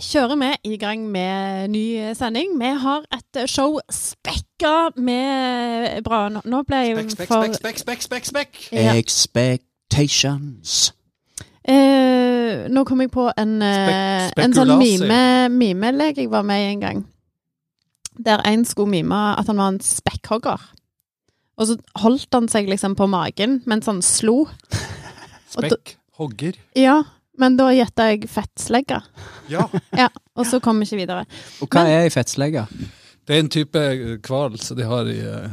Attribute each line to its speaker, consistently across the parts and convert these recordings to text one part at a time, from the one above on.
Speaker 1: kjører vi i gang med ny sending. Vi har et show spekka med bra Nå nå ble jeg
Speaker 2: Spekk, spekk,
Speaker 1: for
Speaker 2: spekk, spekk, spekk, spekk, spekk.
Speaker 1: Ja.
Speaker 3: Expectations.
Speaker 1: Eh, nå kom jeg på en, eh,
Speaker 2: Spek-
Speaker 1: en sånn
Speaker 2: spekulasi.
Speaker 1: mime, mimelek jeg var med i en gang. Der en skulle mime at han var en spekkhogger. Og så holdt han seg liksom på magen mens han slo. Og da-
Speaker 2: Spekk. Hogger.
Speaker 1: Ja, men da gjetta jeg fettslegge.
Speaker 2: Ja.
Speaker 1: Ja, og så kom vi ikke videre.
Speaker 3: Og hva er ei fettslegge?
Speaker 2: Det er en type eh, hval som de har i, eh,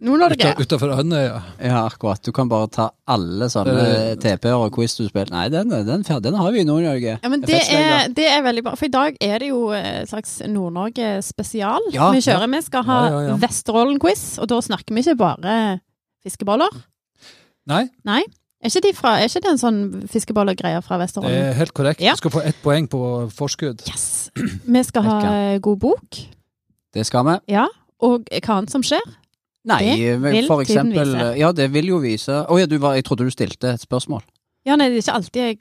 Speaker 1: Nord-Norge.
Speaker 2: uta- utenfor Andøya.
Speaker 3: Ja, akkurat. Du kan bare ta alle sånne
Speaker 2: Det-
Speaker 3: TP-er og quiz du spiller. Nei, den, den, fer- den har vi i Nord-Norge.
Speaker 1: Ja, men
Speaker 3: Ei
Speaker 1: det
Speaker 3: fettslegge.
Speaker 1: er, det er veldig bra. For i dag er det jo eh, et slags Nord-Norge-spesial
Speaker 3: Ja,
Speaker 1: vi kjører. Vi skal ha
Speaker 2: Ja, ja, ja.
Speaker 1: Vesterålen-quiz, og da snakker vi ikke bare fiskeboller.
Speaker 2: Nei,
Speaker 1: Er ikke, de fra, er ikke det en sånn fiskebollegreie fra
Speaker 2: det
Speaker 1: Vesterålen?
Speaker 2: er helt korrekt.
Speaker 1: Ja.
Speaker 2: Du skal få ett poeng på forskudd.
Speaker 1: Yes! Vi skal ha eh,
Speaker 3: Ekka.
Speaker 1: god bok,
Speaker 3: Det skal vi.
Speaker 1: ja. Og hva annet som skjer.
Speaker 3: Nei, men
Speaker 1: vil
Speaker 3: for
Speaker 1: tiden
Speaker 3: eksempel
Speaker 1: vise.
Speaker 3: Ja, det vil jo vise Å ja, du var, jeg trodde du stilte et spørsmål.
Speaker 1: Ja, nei, det er ikke alltid jeg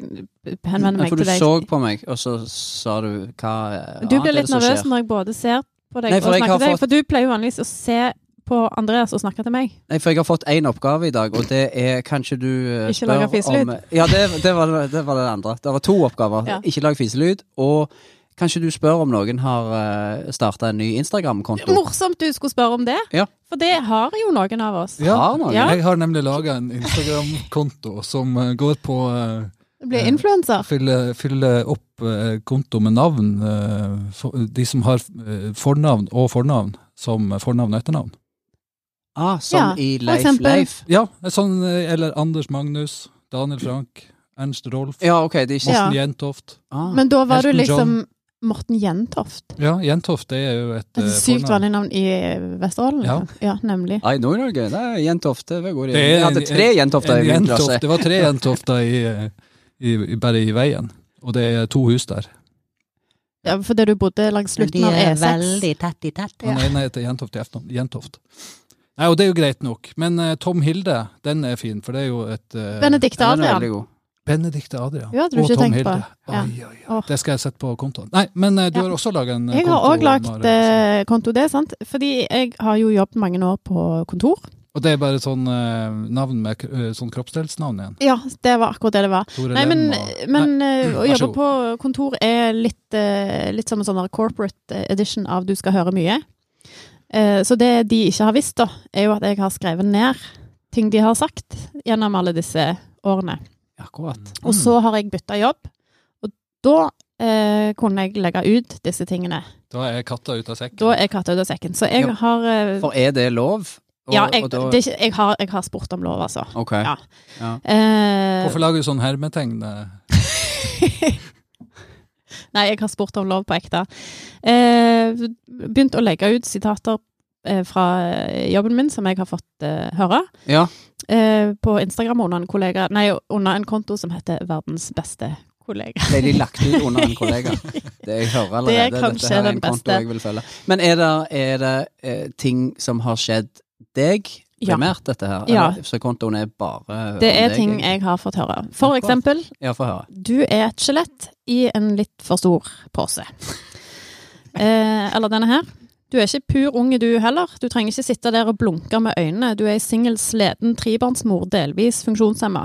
Speaker 1: henvender
Speaker 3: Nei,
Speaker 1: meg
Speaker 3: for du
Speaker 1: til deg.
Speaker 3: så på meg, og så sa du hva eh,
Speaker 1: Du
Speaker 3: annet er
Speaker 1: blir
Speaker 3: det
Speaker 1: litt
Speaker 3: som
Speaker 1: nervøs
Speaker 3: skjer?
Speaker 1: når jeg både ser på deg
Speaker 3: Nei, for
Speaker 1: og
Speaker 3: jeg
Speaker 1: snakker
Speaker 3: har
Speaker 1: til deg,
Speaker 3: fått-
Speaker 1: for du pleier jo vanligvis å se på Andreas og snakke til meg.
Speaker 3: Nei, for jeg har fått én oppgave i dag, og det er kanskje du eh,
Speaker 1: Ikke lage fiselyd.
Speaker 3: om- Ja, det, det, var, det var det andre. Det var to oppgaver.
Speaker 1: Ja.
Speaker 3: Ikke lag fiselyd, og kanskje du spør om noen har starta en ny Instagram-konto.
Speaker 1: Morsomt du skulle spørre om det,
Speaker 3: Ja.
Speaker 1: for det har jo noen av oss.
Speaker 2: Ja.
Speaker 3: Har noen?
Speaker 1: Ja.
Speaker 2: Jeg har nemlig laga en Instagram-konto som eh, går på eh,
Speaker 1: Blir influenser.
Speaker 2: fylle, fylle opp eh, konto med navn. eh, for, de som har eh, fornavn og fornavn som eh, fornavn og etternavn.
Speaker 3: Ah, som
Speaker 1: Ja,
Speaker 3: i
Speaker 1: for
Speaker 3: Leif
Speaker 1: eksempel.
Speaker 3: Leif.
Speaker 2: Ja, eh, sånn, eh, eller Anders Magnus, Daniel Frank, Ernst Rolf,
Speaker 3: Ja, OK, det er ikke
Speaker 2: Morten
Speaker 1: Ja.
Speaker 2: Jentoft.
Speaker 3: ah.
Speaker 1: Men da var du
Speaker 2: Elton
Speaker 1: liksom Morten Jentoft.
Speaker 2: Ja, Jentoft det er jo et
Speaker 1: Et
Speaker 2: eh,
Speaker 1: sykt
Speaker 2: fornavn.
Speaker 1: vanlig navn i Vesterålen.
Speaker 2: Ja.
Speaker 1: liksom. ja nemlig.
Speaker 3: Nei, Nord-Norge. Det er Jentofte. Det er god idé.
Speaker 2: Det er
Speaker 3: Jeg hadde
Speaker 2: en-
Speaker 3: tre Jentofter i
Speaker 2: En
Speaker 3: min
Speaker 2: jentoft,
Speaker 3: klasse.
Speaker 2: det var tre jentofter i, eh, i, i, bare i veien. Og det er to hus der.
Speaker 1: Ja, Fordi du bodde langs slutten av E E6.
Speaker 3: tett i tett.
Speaker 2: Han ene heter Jentoft i efternavn. Jentoft. Nei, og det er jo greit nok. Men eh, Tom Hilde, den er fin, for det er jo et eh,
Speaker 1: Benedicte
Speaker 3: Den er
Speaker 1: Adrian.
Speaker 3: veldig god.
Speaker 2: Benedicte Adrian
Speaker 1: Ja, hadde du
Speaker 2: og
Speaker 1: ikke
Speaker 2: Tom
Speaker 1: tenkt på.
Speaker 2: Hilde.
Speaker 1: Ja.
Speaker 2: Oi, oi, oi.
Speaker 1: Åh.
Speaker 2: Det skal jeg sette på kontoen. Nei, men eh, du
Speaker 1: Ja.
Speaker 2: har også laga en eh,
Speaker 1: Jeg
Speaker 2: konto.
Speaker 1: har òg lagd
Speaker 2: Mari, altså.
Speaker 1: eh, konto, det er sant. Fordi jeg har jo jobbet mange år på kontor.
Speaker 2: Og det er bare sånn eh, navn med k- eh, sånn kroppsdelsnavn igjen.
Speaker 1: Ja, det var akkurat det det var.
Speaker 2: Tore
Speaker 1: Nei, men,
Speaker 2: Lem og
Speaker 1: men eh, å
Speaker 2: vær så
Speaker 1: jobbe på kontor er litt, eh, litt som en sånn her corporate edition av Du skal høre mye. Eh, Så det de ikke har visst, da, er jo at jeg har skrevet ned ting de har sagt gjennom alle disse årene.
Speaker 3: Akkurat.
Speaker 1: Og så har jeg bytta jobb, og da eh, kunne jeg legge ut disse tingene.
Speaker 2: Da er katta ute av sekken.
Speaker 1: Da er katta ute av sekken. Så jeg
Speaker 3: Ja.
Speaker 1: har eh,
Speaker 3: For er det lov? Og-
Speaker 1: Ja, jeg,
Speaker 3: og
Speaker 1: det,
Speaker 3: da-
Speaker 1: er ikke- jeg, har, jeg har spurt om lov, altså.
Speaker 3: OK.
Speaker 1: Ja.
Speaker 3: Ja.
Speaker 1: Eh,
Speaker 2: Hvorfor lager du sånn hermetegn? eh?
Speaker 1: Nei, jeg har spurt om lov på ekte. Eh, begynt å legge ut sitater eh, fra jobben min som jeg har fått eh, høre.
Speaker 3: Ja.
Speaker 1: Eh, på Instagram under en, kollega, nei, under en konto som heter Verdens beste kollega.
Speaker 3: Ble de lagt ut under en kollega? Det jeg hører allerede.
Speaker 1: Det er kanskje
Speaker 3: Dette her er
Speaker 1: den
Speaker 3: en konto
Speaker 1: beste.
Speaker 3: jeg vil følge. Men er det, er det eh, ting som har skjedd deg
Speaker 1: Ja.
Speaker 3: primært, dette her?
Speaker 1: Ja.
Speaker 3: Eller, så kontoen er bare
Speaker 1: Det
Speaker 3: om
Speaker 1: er
Speaker 3: deg,
Speaker 1: ting
Speaker 3: egentlig?
Speaker 1: jeg har fått høre. For eksempel,
Speaker 3: Ja, få høre.
Speaker 1: du er et skjelett i en litt for stor pose. Eh, eller denne her. Du er ikke pur unge du heller. Du trenger ikke sitte der og blunke med øynene. Du er ei singel, sliten trebarnsmor, delvis funksjonshemma.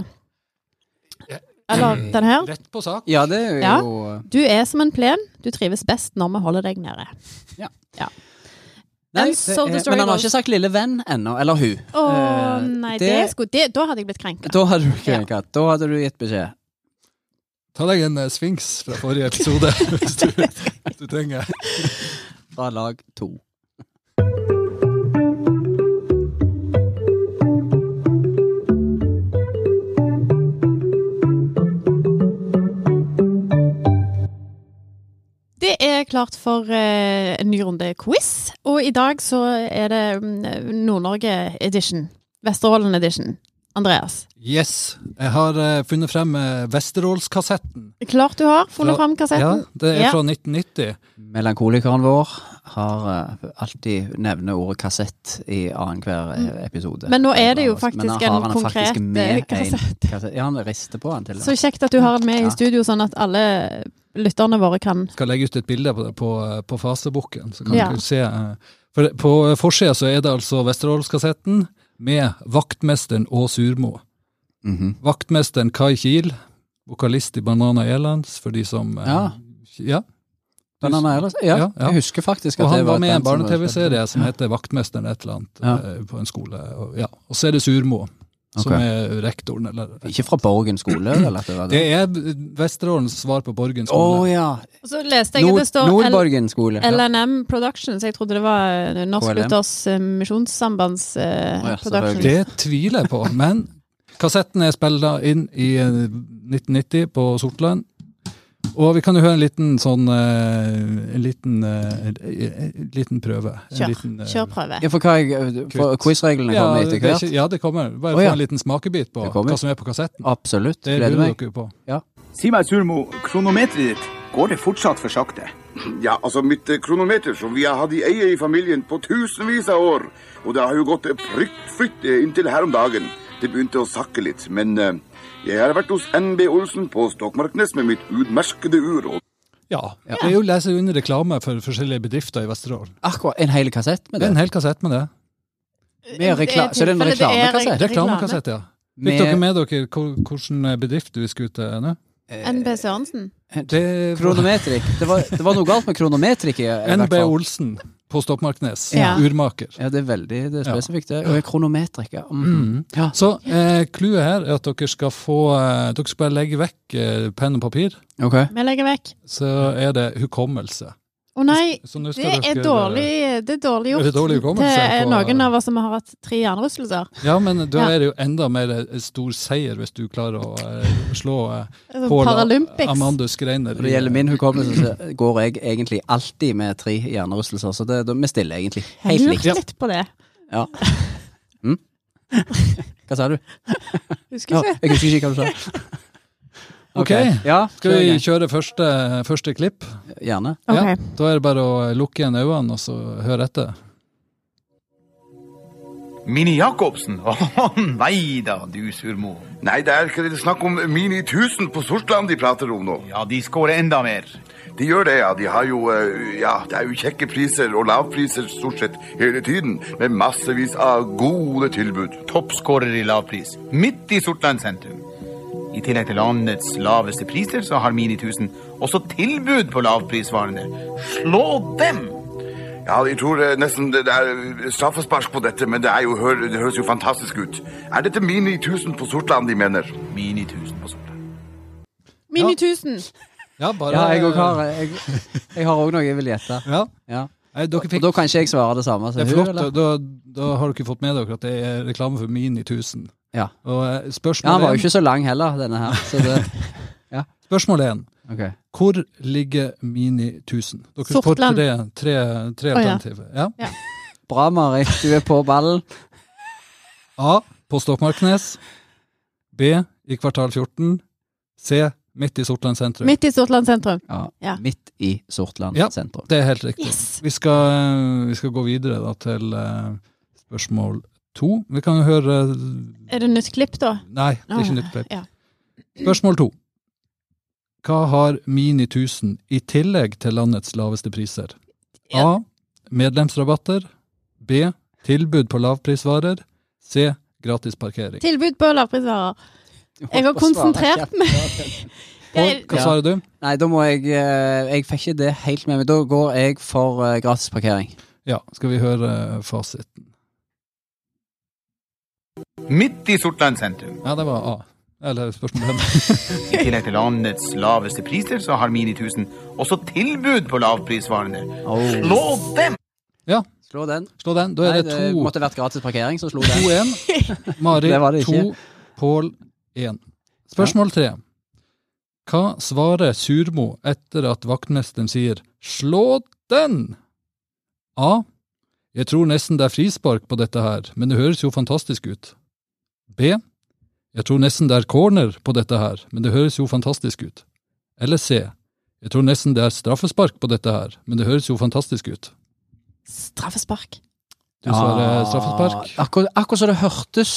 Speaker 1: Eller
Speaker 3: Mm.
Speaker 1: denne her.
Speaker 2: Rett på sak.
Speaker 3: Ja, det er
Speaker 1: Ja.
Speaker 3: jo
Speaker 1: Du er som en plen. Du trives best når vi holder deg nede.
Speaker 3: Nei,
Speaker 1: And
Speaker 3: det
Speaker 1: so the
Speaker 3: er,
Speaker 1: story
Speaker 3: men han har
Speaker 1: goes.
Speaker 3: ikke sagt 'lille venn' ennå, eller hun.
Speaker 1: Å
Speaker 3: Eh,
Speaker 1: nei, det,
Speaker 3: det-
Speaker 1: skulle, det, da hadde jeg blitt krenka.
Speaker 3: Da hadde du krenka. Da hadde du gitt beskjed.
Speaker 2: Ta deg en eh, sfinks fra forrige episode hvis du, hvis du trenger.
Speaker 3: Fra lag to.
Speaker 1: Det er klart for eh, en ny runde quiz, og i dag så er det mm, Nord-Norge edition. Vesterålen edition. Andreas.
Speaker 2: Yes. Jeg har eh, funnet frem eh, Vesterålskassetten.
Speaker 1: Klart du har funnet
Speaker 2: Fra-
Speaker 1: fram
Speaker 2: Ja,
Speaker 1: kassetten.
Speaker 2: det er
Speaker 1: Ja.
Speaker 2: fra 1990.
Speaker 3: Melankolikeren vår har eh, alltid nevner ordet kassett i annenhver eh, episode.
Speaker 1: Mm. Men nå er det jo
Speaker 3: altså, Men
Speaker 1: faktisk
Speaker 3: han har
Speaker 1: en
Speaker 3: han
Speaker 1: konkret
Speaker 3: faktisk med
Speaker 1: eh,
Speaker 3: en
Speaker 1: kassett.
Speaker 3: kassett. Ja, han rister på han til og
Speaker 1: Så
Speaker 3: med.
Speaker 1: kjekt at du har den med
Speaker 3: Ja.
Speaker 1: i studio, sånn at alle lytterne våre kan
Speaker 2: Skal legge ut et bilde på, på, eh, på Fasebukken, så kan
Speaker 1: Ja.
Speaker 2: du se. eh, For på eh, forsida så er det altså Vesterålskassetten med vaktmesteren og Surmo.
Speaker 3: Mhm.
Speaker 2: Vaktmesteren Kai Kiel, vokalist i Banana Elands, for de som eh,
Speaker 3: Ja.
Speaker 2: ja.
Speaker 3: Men han er ellers, ja,
Speaker 2: Ja, ja.
Speaker 3: jeg husker faktisk at
Speaker 2: Og
Speaker 3: det
Speaker 2: han
Speaker 3: var
Speaker 2: var
Speaker 3: et
Speaker 2: med i en
Speaker 3: band som var-
Speaker 2: barne-TV-serie som heter Vaktmesteren et eller annet
Speaker 3: Ja.
Speaker 2: eh, på en skole. Og, ja. og så er det Surmo, som
Speaker 3: Ok.
Speaker 2: er rektoren. Eller,
Speaker 3: Ikke fra Borgen skole, eller? at Det var
Speaker 2: Det
Speaker 3: det.
Speaker 2: er Vesterålens svar på Borgen
Speaker 3: Å
Speaker 2: skole.
Speaker 3: ja.
Speaker 1: Og så leste jeg at
Speaker 3: Nord,
Speaker 1: det står L-
Speaker 3: Nordborgen skole.
Speaker 1: LNM Productions. Jeg trodde det var eh, Norsk
Speaker 3: KLM.
Speaker 1: Luthers eh, Misjonssambands eh,
Speaker 3: Å ja,
Speaker 1: Productions.
Speaker 2: Det tviler jeg på, men kassetten er spilla inn i eh, 1990 på Sortland. Og vi kan jo høre en liten sånn eh, En liten, eh, en liten prøve. En
Speaker 1: Kjør.
Speaker 2: liten, eh,
Speaker 1: Kjør prøve.
Speaker 3: Ja, for hva jeg, for
Speaker 2: Kutt.
Speaker 3: Quizreglene
Speaker 2: ja,
Speaker 3: kommer
Speaker 2: det
Speaker 3: etter
Speaker 2: er
Speaker 3: hvert.
Speaker 2: ikke, ja, det kommer. Bare
Speaker 3: Å, ja.
Speaker 2: få en liten smakebit på
Speaker 3: Det kommer.
Speaker 2: hva som er på kassetten.
Speaker 3: Absolutt.
Speaker 2: Det
Speaker 3: Gleder
Speaker 2: lurer
Speaker 3: meg.
Speaker 2: dere jo på.
Speaker 4: Si meg, Surmo, kronometeret ditt, går det fortsatt for sakte?
Speaker 5: Ja, altså mitt eh, kronometer som vi har hatt i eie i familien på tusenvis av år. Og det har jo gått eh, prikkfritt eh, inntil her om dagen. Det begynte å sakke litt, men eh, jeg har vært hos NB Olsen på Stokmarknes med mitt utmerkede ur. og
Speaker 2: Ja. Det er jo leser under reklame for forskjellige bedrifter i Vesterålen.
Speaker 3: Akkurat en hel kassett med
Speaker 2: Det er
Speaker 3: det.
Speaker 2: en hel kassett med det.
Speaker 3: Med rekla- så det er en
Speaker 1: tilfelle det er
Speaker 3: reklamekassett?
Speaker 2: Reklamekassett, ja. Fikk
Speaker 3: Med-
Speaker 2: dere med dere hvor- hvilken bedrift vi skulle til nå?
Speaker 1: NB Sørensen.
Speaker 2: Det var
Speaker 3: Kronometrik. Det var, det var noe galt med kronometrik. i- i hvert
Speaker 2: NB
Speaker 3: fall.
Speaker 2: Olsen på Stokmarknes.
Speaker 1: Ja.
Speaker 2: Urmaker.
Speaker 3: Ja, det er veldig det er
Speaker 2: Ja.
Speaker 3: spesifikt. det. Og jeg er kronometriker. Mm. Ja.
Speaker 2: Så eh, clouet her er at dere skal få eh, Dere skal bare legge vekk eh, penn og papir.
Speaker 3: Ok.
Speaker 1: Vi legger vekk.
Speaker 2: Så er det hukommelse.
Speaker 1: Å nei,
Speaker 2: Så nå
Speaker 1: det
Speaker 2: skal
Speaker 1: er
Speaker 2: dere-
Speaker 1: dårlig, eh, det er dårlig
Speaker 2: Er det
Speaker 1: gjort
Speaker 2: dårlig hukommelse
Speaker 1: til eh,
Speaker 2: på-
Speaker 1: noen av oss som har hatt tre hjernerystelser.
Speaker 2: Ja, men da
Speaker 1: Ja.
Speaker 2: er det jo enda mer eh, stor seier hvis du klarer å eh, slå eh,
Speaker 1: Altså,
Speaker 2: Paula
Speaker 1: Paralympics.
Speaker 2: Amandus Greiner.
Speaker 3: Når det gjelder min hukommelse, så går jeg egentlig alltid med tre hjernerystelser. Så det, da- vi stiller egentlig helt
Speaker 1: Lurt
Speaker 3: likt.
Speaker 1: litt på det.
Speaker 3: Ja. Mm. Hva sa du?
Speaker 1: Husker
Speaker 3: Ja,
Speaker 1: ikke.
Speaker 3: jeg husker ikke hva du sa.
Speaker 2: Ok.
Speaker 3: Ja,
Speaker 2: Skal
Speaker 3: kjør
Speaker 2: vi
Speaker 3: igjen.
Speaker 2: kjøre første, første klipp?
Speaker 3: Gjerne.
Speaker 1: Ok.
Speaker 2: Ja, da er det bare å lukke igjen øynene og så høre etter.
Speaker 6: Mini Jacobsen? Å nei da, du surmo.
Speaker 5: Nei, det er ikke det snakk om Mini 1000 på Sortland de prater om nå.
Speaker 6: Ja, de skårer enda mer.
Speaker 5: De gjør det, ja. De har jo eh, Ja, det er jo kjekke priser og lavpriser stort sett hele tiden. Med massevis av gode tilbud.
Speaker 6: Toppskårer i lavpris, midt i Sortland sentrum. I tillegg til landets laveste priser, så har Mini 1000 også tilbud på lavprisvarene. Slå dem!
Speaker 5: Ja, jeg tror eh, nesten det det er eh, straffespark på dette, men det, er jo, hør- det høres jo fantastisk ut. Er dette Mini 1000 på Sortland de mener?
Speaker 6: Mini 1000 på Sortland.
Speaker 1: Mini 1000.
Speaker 2: Ja, bare,
Speaker 3: Ja, jeg òg har jeg, jeg har også noe jeg vil gjette.
Speaker 2: Ja.
Speaker 3: Ja.
Speaker 2: Nei, dere
Speaker 3: Og
Speaker 2: fikk
Speaker 3: da kan ikke jeg svare det samme som
Speaker 2: Det er
Speaker 3: hun,
Speaker 2: flott,
Speaker 3: eller?
Speaker 2: da, da har dere fått med dere at det er reklame for Mini 1000.
Speaker 3: Ja.
Speaker 2: Og eh,
Speaker 3: ja. Han var jo
Speaker 2: spørsmålet,
Speaker 3: ikke så lang heller, denne her. Så det,
Speaker 2: en, spørsmålet en,
Speaker 3: ok.
Speaker 2: hvor ligger Mini 1000? Dere får
Speaker 1: Sortland.
Speaker 2: tre, tre,
Speaker 1: Å,
Speaker 2: tre
Speaker 1: ja.
Speaker 2: alternativer. Ja.
Speaker 3: Bra, Marit. Du er på ballen.
Speaker 2: A. På Stokmarknes. B. I kvartal 14. C. Midt i Sortland sentrum.
Speaker 1: Midt i Sortland sentrum.
Speaker 3: Ja.
Speaker 1: Ja.
Speaker 3: Midt i Sortland
Speaker 2: Ja.
Speaker 3: sentrum.
Speaker 2: Det er helt riktig.
Speaker 1: Yes!
Speaker 2: Vi skal, vi skal gå videre da, til eh, spørsmål to. Vi kan jo høre
Speaker 1: Er det nytt klipp, da?
Speaker 2: Nei, det er
Speaker 1: Ah,
Speaker 2: ikke nytt klipp.
Speaker 1: ja.
Speaker 2: Spørsmål to. Hva har Mini 1000 i tillegg til landets laveste priser? A. Medlemsrabatter. B. Tilbud på lavprisvarer. C. Gratis parkering.
Speaker 1: Tilbud på lavprisvarer. Jeg har konsentrert meg.
Speaker 2: Pål, hva
Speaker 1: Ja.
Speaker 2: svarer du?
Speaker 3: Nei, da må jeg eh, Jeg fikk ikke det helt med meg. Da går jeg for eh, gratis parkering.
Speaker 2: Ja, skal vi høre eh, fasiten.
Speaker 6: Midt i Sortland sentrum.
Speaker 2: Ja, det var A. Eller spørsmål 5.
Speaker 6: I tillegg til landets laveste priser, så har Mini 1000 også tilbud på lavprisvarene. Slå dem!
Speaker 2: Ja,
Speaker 3: Slå den.
Speaker 2: slå den. Da
Speaker 3: Nei,
Speaker 2: er det
Speaker 3: det måtte vært gratis parkering, så slo den.
Speaker 2: 2-1. Mari
Speaker 3: Det var det ikke.
Speaker 2: 2, Pål 1. Spørsmål 3. Hva svarer Surmo etter at vaktmesteren sier 'slå den'? A. Jeg tror nesten det er frispark på dette her, men det høres jo fantastisk ut. B. Jeg tror nesten det er corner på dette her, men det høres jo fantastisk ut. Eller C. Jeg tror nesten det er straffespark på dette her, men det høres jo fantastisk ut.
Speaker 1: Straffespark.
Speaker 2: Du
Speaker 3: Ah.
Speaker 2: svarer straffespark.
Speaker 3: Akkurat, akkurat som det hørtes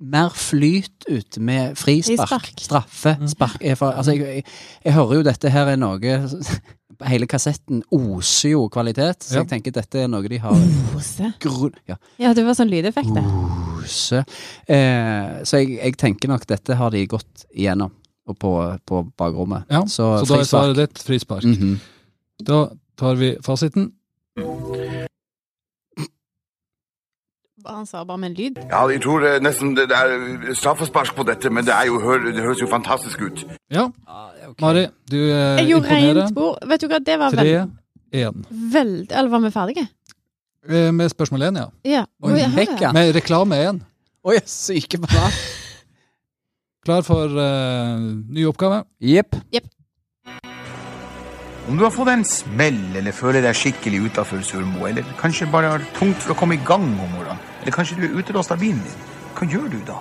Speaker 3: mer flyt ut med frispark.
Speaker 1: Frispark.
Speaker 3: Straffespark. Jeg, får- altså, jeg, jeg, jeg hører jo dette her er noe Hele kassetten oser jo kvalitet, så
Speaker 2: Ja.
Speaker 3: jeg tenker dette er noe de har
Speaker 1: Pose.
Speaker 3: grunn... Ja,
Speaker 1: Ja, det var sånn lydeffekt,
Speaker 3: Mm.
Speaker 1: det.
Speaker 3: ose. Eh, så jeg, jeg tenker nok dette har de gått igjennom og på, på bakrommet.
Speaker 2: Ja,
Speaker 3: så
Speaker 2: Så da er
Speaker 3: frispark.
Speaker 2: svaret ditt frispark.
Speaker 3: Mhm.
Speaker 2: Da tar vi fasiten.
Speaker 1: Han sa bare med en lyd.
Speaker 5: Ja, jeg tror eh, nesten det det er eh, straffespark på dette, men det, er jo, hø- det høres jo fantastisk ut.
Speaker 2: Ja,
Speaker 3: Ah, ok.
Speaker 2: Mari, du eh,
Speaker 1: Jeg gjorde
Speaker 2: imponerer.
Speaker 1: rent bord. Vet du hva, det var veldig,
Speaker 2: 3-1.
Speaker 1: veldig Eller var vi ferdige?
Speaker 2: Eh, Med spørsmål 1, ja.
Speaker 1: Ja.
Speaker 3: Oi,
Speaker 1: Oi, her, ja.
Speaker 3: Beckham.
Speaker 2: Med reklame 1.
Speaker 3: Oi, syke bra.
Speaker 2: Klar for eh, ny oppgave.
Speaker 3: Jepp.
Speaker 6: Om du har fått en smell, eller føler deg skikkelig utafor Surmo, eller kanskje bare har tungt for å komme i gang om morgenen, eller kanskje du er utelåst av bilen din, hva gjør du da?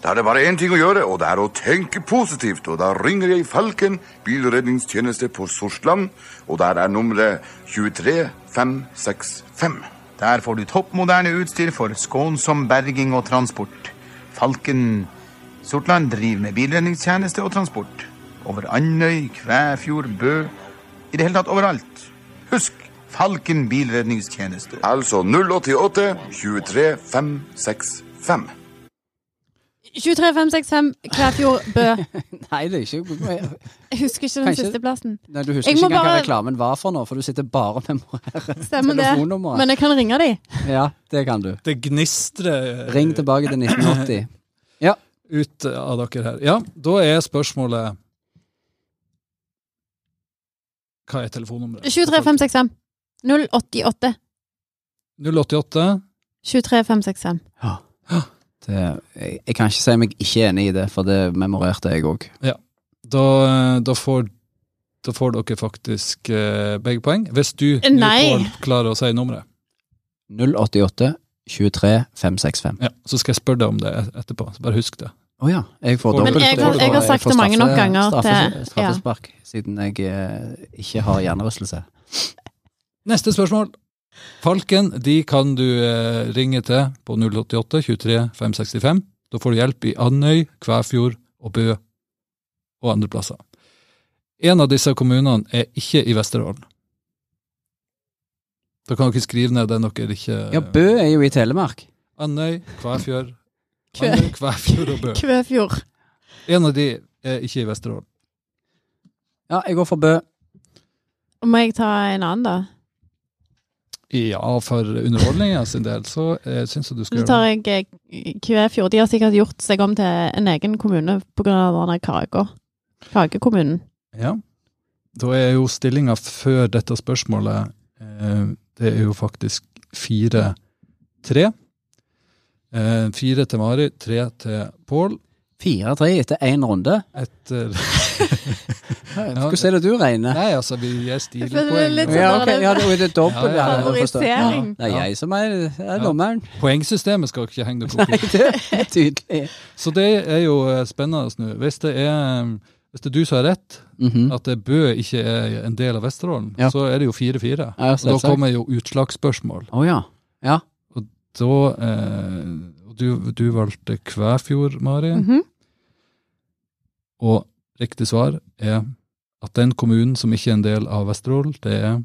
Speaker 5: Da er det bare én ting å gjøre, og det er å tenke positivt. Og da ringer jeg Falken bilredningstjeneste på Sorsland, og der er nummeret 23565.
Speaker 6: Der får du toppmoderne utstyr for skånsom berging og transport. Falken Sortland driver med bilredningstjeneste og transport. Over Andøy, Kvæfjord, Bø I det hele tatt overalt. Husk Falken bilredningstjeneste.
Speaker 5: Altså 088 23565.
Speaker 1: 23565 Kvæfjord Bø.
Speaker 3: Nei, det er ikke
Speaker 1: Jeg husker ikke den
Speaker 3: Kanskje-
Speaker 1: siste plassen.
Speaker 3: Nei, Du husker
Speaker 1: Jeg
Speaker 3: ikke
Speaker 1: må
Speaker 3: engang hva
Speaker 1: bare-
Speaker 3: reklamen var for nå, for du sitter bare med morer.
Speaker 1: Stemmer det.
Speaker 3: Telefonnummeret.
Speaker 1: Men jeg kan ringe de.
Speaker 3: Ja, det kan du.
Speaker 2: Det gnistrer
Speaker 3: Ring tilbake til 1980. Ja.
Speaker 2: ut av dere her. Ja, da er spørsmålet Hva er telefonnummeret?
Speaker 1: 23565 088
Speaker 2: 088.
Speaker 1: 23565.
Speaker 3: Det, jeg, jeg kan ikke si meg ikke enig i det, for det memorerte jeg òg.
Speaker 2: Da, da, får, da får dere faktisk eh, begge poeng. Hvis du nå,
Speaker 1: Nei.
Speaker 2: Pål, klarer å si nummeret.
Speaker 3: 088 23 565.
Speaker 2: Ja, så skal jeg spørre deg om det et- etterpå. Så bare husk det.
Speaker 3: Å ja. Jeg får
Speaker 2: Men
Speaker 3: dobbelt.
Speaker 2: jeg har-
Speaker 3: får-
Speaker 2: jeg har
Speaker 1: sagt
Speaker 3: får
Speaker 1: det mange nok ganger
Speaker 3: straffe-
Speaker 1: til-
Speaker 3: Straffespark, siden jeg eh, ikke har hjernerystelse.
Speaker 2: Neste spørsmål. Falken de kan du eh, ringe til på 088 23 565. Da får du hjelp i Andøy, Kvæfjord og Bø og andre plasser. En av disse kommunene er ikke i Vesterålen. Da kan dere skrive ned den dere ikke
Speaker 3: Ja, Bø er jo i Telemark.
Speaker 2: Andøy, Kvæfjord
Speaker 1: Kvæ-
Speaker 2: Andøy, Kvæfjord og Bø.
Speaker 1: Kvæfjord.
Speaker 2: En av de er ikke i Vesterålen.
Speaker 3: Ja, jeg går for Bø.
Speaker 1: Må jeg ta en annen, da?
Speaker 2: Ja, for underholdninga sin del, så eh, syns jeg du skal
Speaker 1: Så tar jeg eh, Kvæfjord. De har sikkert gjort seg om til en egen kommune pga. denne kaka. Kakekommunen.
Speaker 2: Ja. Da er jo stillinga før dette spørsmålet eh, Det er jo faktisk 4-3. Eh, fire til Mari, tre til Pål.
Speaker 3: 4-3 etter én runde.
Speaker 2: Etter
Speaker 3: Hvordan er det du regner?
Speaker 2: Nei, altså, vi gir
Speaker 1: Jeg føler det er litt
Speaker 2: stilpoeng.
Speaker 1: sånn-
Speaker 3: Ja, ok, ja, det er det
Speaker 2: Ja, ja,
Speaker 3: dobbelt.
Speaker 2: ja.
Speaker 3: Ja, jeg forstår.
Speaker 1: Favorisering.
Speaker 3: Det er
Speaker 2: Ja.
Speaker 3: jeg som er, er
Speaker 2: Ja.
Speaker 3: dommeren.
Speaker 2: Poengsystemet skal ikke henge dere opp i.
Speaker 3: Det er tydelig.
Speaker 2: Så det er jo eh, spennende nå. Hvis det er eh, hvis det er du som har rett,
Speaker 3: Mhm.
Speaker 2: at det Bø ikke er en del av Vesterålen,
Speaker 3: Ja.
Speaker 2: så er det jo 4-4.
Speaker 3: Ja,
Speaker 2: Og da
Speaker 3: selvsagt.
Speaker 2: kommer jo utslagsspørsmål.
Speaker 3: Å ja. Ja.
Speaker 2: Da eh, og du, du valgte Kvæfjord, Mari,
Speaker 1: Mhm.
Speaker 2: og riktig svar er at den kommunen som ikke er en del av Vesterålen, det er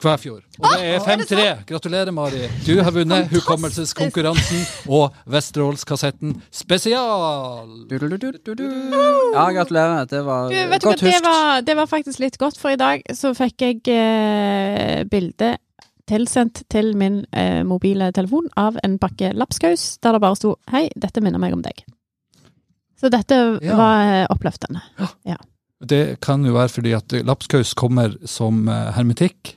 Speaker 2: Kvæfjord. Og det er 5-3! Gratulerer, Mari. Du har vunnet
Speaker 1: Fantastisk!
Speaker 2: hukommelseskonkurransen og Vesterålskassetten spesial!
Speaker 3: Du-du-du-du-du. ja, gratulerer. Det var
Speaker 1: Du, vet du hva,
Speaker 3: godt
Speaker 1: det
Speaker 3: huskt.
Speaker 1: var, det var faktisk litt godt, for i dag så fikk jeg eh, bilde tilsendt til min eh, mobile telefon av en pakke lapskaus, der det bare sto 'Hei, dette minner meg om deg'. Så dette
Speaker 2: Ja.
Speaker 1: var eh, oppløftende.
Speaker 2: Det kan jo være fordi at lapskaus kommer som eh, hermetikk,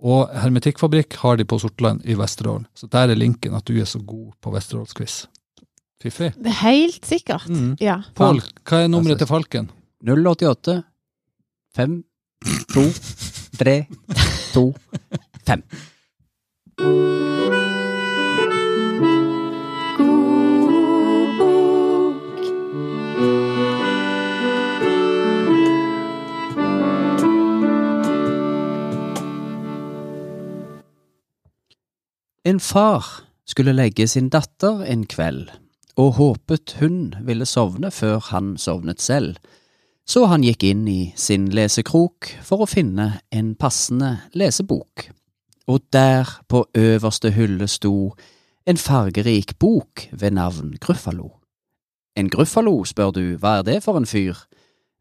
Speaker 2: og hermetikkfabrikk har de på Sortland i Vesterålen. Så der er linken at du er så god på Vesterålsquiz. Fiffig.
Speaker 1: Det er Helt sikkert.
Speaker 2: Mhm.
Speaker 1: Ja.
Speaker 2: Pål, hva er nummeret til Falken?
Speaker 3: 088 5 2 3 2 5.
Speaker 1: God
Speaker 3: En far skulle legge sin datter en kveld, og håpet hun ville sovne før han sovnet selv, så han gikk inn i sin lesekrok for å finne en passende lesebok. Og der på øverste hylle sto en fargerik bok ved navn Gruffalo. En gruffalo, spør du, hva er det for en fyr?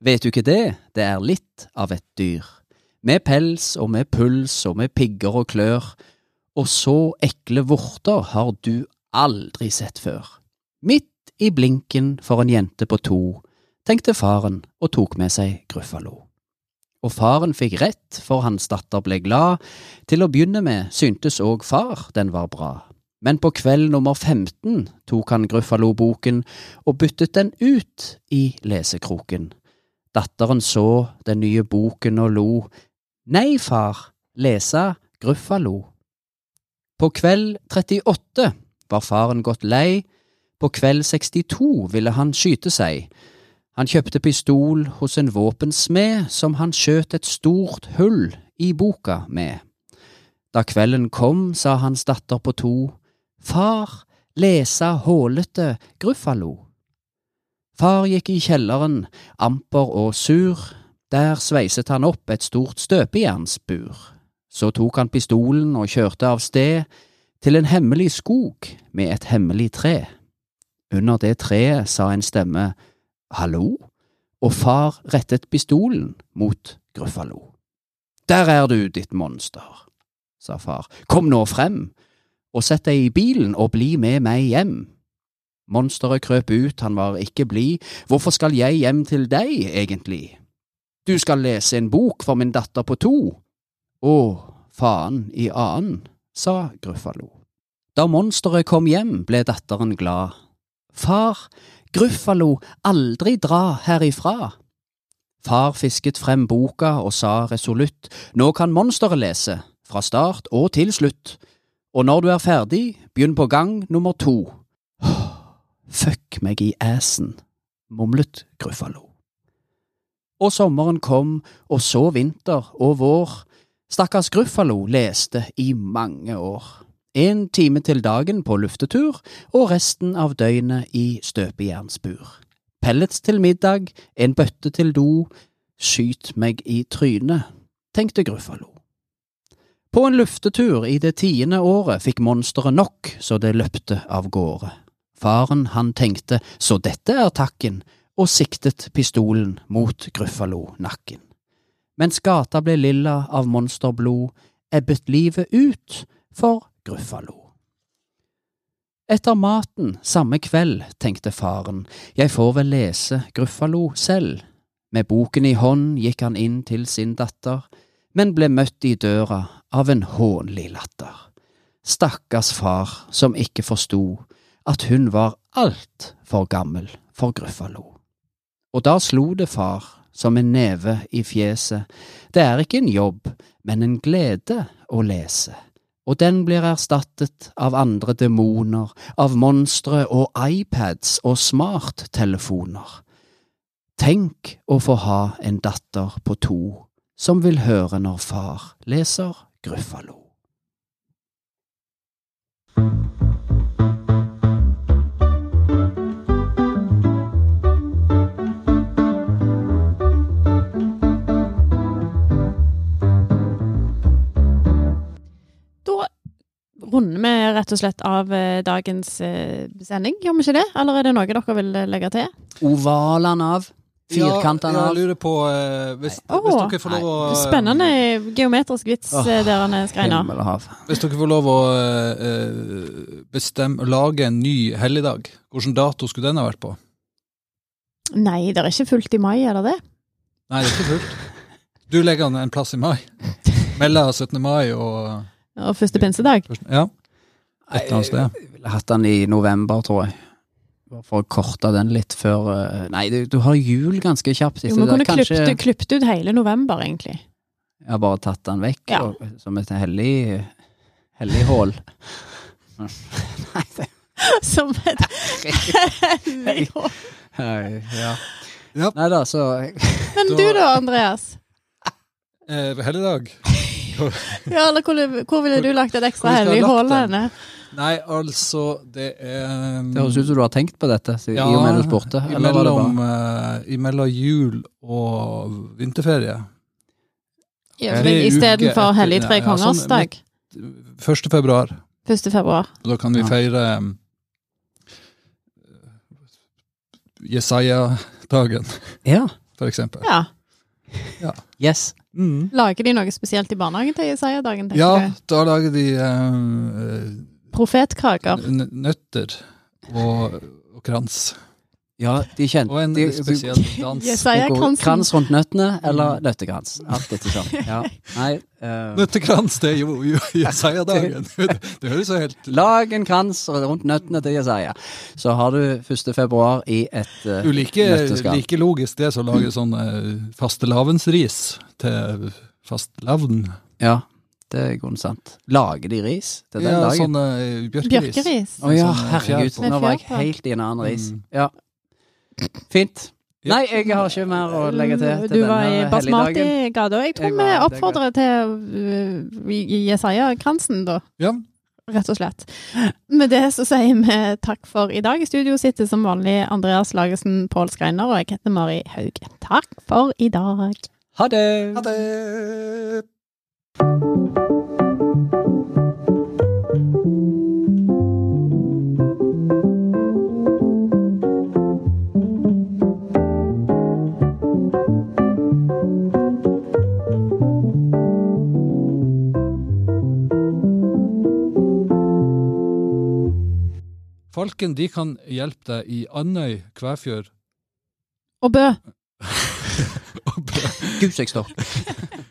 Speaker 3: Vet du ikke det, det er litt av et dyr. Med pels og med puls og med pigger og klør, og så ekle vorter har du aldri sett før. Midt i blinken for en jente på to, tenkte faren og tok med seg Gruffalo. Og faren fikk rett, for hans datter ble glad, til å begynne med syntes òg far den var bra. Men på kveld nummer 15 tok han Gruffalo-boken og byttet den ut i lesekroken. Datteren så den nye boken og lo. Nei, far, lese Gruffalo. På kveld 38 var faren gått lei, på kveld 62 ville han skyte seg. Han kjøpte pistol hos en våpensmed som han skjøt et stort hull i boka med. Da kvelden kom, sa hans datter på to, far, lese hålete Gruffalo. Far gikk i kjelleren, amper og sur, der sveiset han opp et stort støpejernsbur. Så tok han pistolen og kjørte av sted til en hemmelig skog med et hemmelig tre. Under det treet sa en stemme hallo, og far rettet pistolen mot Gruffalo. Der er du, ditt monster, sa far, kom nå frem, og sett deg i bilen og bli med meg hjem. Monsteret krøp ut, han var ikke blid, hvorfor skal jeg hjem til deg, egentlig? Du skal lese en bok for min datter på to. Å, faen i annen, sa Gruffalo. Da monsteret kom hjem, ble datteren glad. Far, Gruffalo, aldri dra herifra. Far fisket frem boka og sa resolutt, nå kan monsteret lese, fra start og til slutt, og når du er ferdig, begynn på gang nummer to. Fuck meg i assen, mumlet Gruffalo. Og sommeren kom, og så vinter og vår. Stakkars Gruffalo leste i mange år. En time til dagen på luftetur, og resten av døgnet i støpejernsbur. Pellets til middag, en bøtte til do. Skyt meg i trynet, tenkte Gruffalo. På en luftetur i det tiende året fikk monsteret nok så det løpte av gårde. Faren han tenkte så dette er takken, og siktet pistolen mot Gruffalo-nakken. Mens gata ble lilla av monsterblod, ebbet livet ut for Gruffalo. Etter maten samme kveld tenkte faren, jeg får vel lese Gruffalo selv. Med boken i hånd gikk han inn til sin datter, men ble møtt i døra av en hånlig latter. Stakkars far som ikke forsto at hun var altfor gammel for Gruffalo. Og da slo det far som en neve i fjeset, det er ikke en jobb, men en glede å lese, og den blir erstattet av andre demoner, av monstre og iPads og smarttelefoner. Tenk å få ha en datter på to som vil høre når far leser Gruffalo.
Speaker 1: Da runder vi rett og slett av eh, dagens eh, sending, gjør vi ikke det? Eller er det noe dere vil eh, legge til?
Speaker 3: Ovalene av, firkantene
Speaker 2: ja,
Speaker 3: av.
Speaker 2: jeg lurer på eh, hvis,
Speaker 1: Åh,
Speaker 2: hvis dere får lov å eh,
Speaker 1: Spennende geometrisk vits
Speaker 3: Åh,
Speaker 1: eh, der han er skreina.
Speaker 3: Himmel og hav.
Speaker 2: Hvis dere får lov å eh, bestemme, lage en ny helligdag, hvilken dato skulle den ha vært på?
Speaker 1: Nei, det er ikke fullt i mai, er det det?
Speaker 2: Nei, det er ikke fullt. Du legger den en plass i mai. Mellom 17. mai og
Speaker 1: Og første pinsedag?
Speaker 2: Ja. Et eller annet sted.
Speaker 3: Jeg ville hatt den i november, tror jeg. Bare For å korte den litt før eh, Nei, du, du har jul ganske kjapt.
Speaker 1: Jo,
Speaker 3: etter
Speaker 1: vi
Speaker 3: det.
Speaker 1: kunne
Speaker 3: Kanskje
Speaker 1: klippet, klippet ut hele november, egentlig.
Speaker 3: jeg har bare tatt den vekk
Speaker 1: Ja.
Speaker 3: og, som et hellig hellig hål. nei, det
Speaker 1: Som et hellig år.
Speaker 3: nei, ja.
Speaker 2: Ja.
Speaker 3: Nei da, så
Speaker 1: Men du da, Andreas?
Speaker 2: Eh, helligdag?
Speaker 1: Ja, eller hvor, hvor ville du lagt et
Speaker 2: Hvor
Speaker 1: ekstra
Speaker 2: skal jeg
Speaker 1: hellig
Speaker 2: lagt
Speaker 1: hull
Speaker 2: den?
Speaker 1: henne?
Speaker 2: Nei, altså, det er mm,
Speaker 3: Det høres ut som du har tenkt på dette i
Speaker 2: Ja,
Speaker 3: og med du spurte. Eller var det
Speaker 2: imellom,
Speaker 3: bare
Speaker 2: eh, imellom jul og vinterferie.
Speaker 1: Ja,
Speaker 2: Tre uker
Speaker 1: Istedenfor
Speaker 2: etter-
Speaker 1: hellig tre
Speaker 2: ja, ja,
Speaker 1: kongers
Speaker 2: sånn,
Speaker 1: dag.
Speaker 2: 1. februar.
Speaker 1: 1. februar.
Speaker 2: Da kan vi
Speaker 3: Ja.
Speaker 2: feire um, Jesaja-dagen,
Speaker 3: Ja.
Speaker 2: for eksempel.
Speaker 1: Ja.
Speaker 3: Yes.
Speaker 2: Mm.
Speaker 1: Lager de noe spesielt i barnehagen til Jesaja-dagen, tenker
Speaker 2: Ja,
Speaker 1: du?
Speaker 2: da lager de um,
Speaker 1: Profetkaker.
Speaker 2: n- nøtter og, og krans.
Speaker 3: Ja, de kjente
Speaker 2: Og en
Speaker 3: de,
Speaker 2: spesiell dans.
Speaker 1: Jesaja-kransen.
Speaker 3: Krans rundt nøttene eller nøttekrans. Alt etter sånn. Ja. Nei eh,
Speaker 2: Nøttekrans, det er jo jo Jesaja-dagen. Det høres jo helt
Speaker 3: Lag en krans rundt nøttene til Jesaja. Så har du 1. februar i et eh,
Speaker 2: Du, like,
Speaker 3: nøtteskall.
Speaker 2: like logisk det som lager sånn eh, fastelavnsris til fastelavn.
Speaker 3: Ja, det er grunnen sant. Lager de ris til den
Speaker 2: Ja,
Speaker 3: dagen?
Speaker 2: sånn eh, bjørkeris.
Speaker 1: Bjørkeris.
Speaker 3: Å ja,
Speaker 2: sånn, eh,
Speaker 3: herregud.
Speaker 2: fjær på.
Speaker 3: Nå var
Speaker 1: Med
Speaker 3: jeg
Speaker 1: fjær på.
Speaker 3: helt i en annen ris.
Speaker 2: Mm.
Speaker 3: Ja. Fint.
Speaker 2: Ja.
Speaker 3: Nei, jeg har ikke mer å legge til
Speaker 1: Mm,
Speaker 3: til
Speaker 1: Du var i
Speaker 3: denne helligdagen.
Speaker 1: basmati-gata. og Jeg tror
Speaker 3: Jeg
Speaker 1: vi
Speaker 3: var i
Speaker 1: oppfordrer til uh, Jesaja-kransen, da.
Speaker 2: Ja.
Speaker 1: Rett og slett. Med det så sier vi takk for i dag. I studio sitter som vanlig Andreas Lagesen, Pål Skreiner og jeg heter Mari Haug. Takk for i dag.
Speaker 3: Ha det!
Speaker 2: Ha det! Falken de kan hjelpe deg i Andøy, Kvæfjord
Speaker 1: Og Bø.
Speaker 2: og Bø.
Speaker 3: Gud, så jeg står.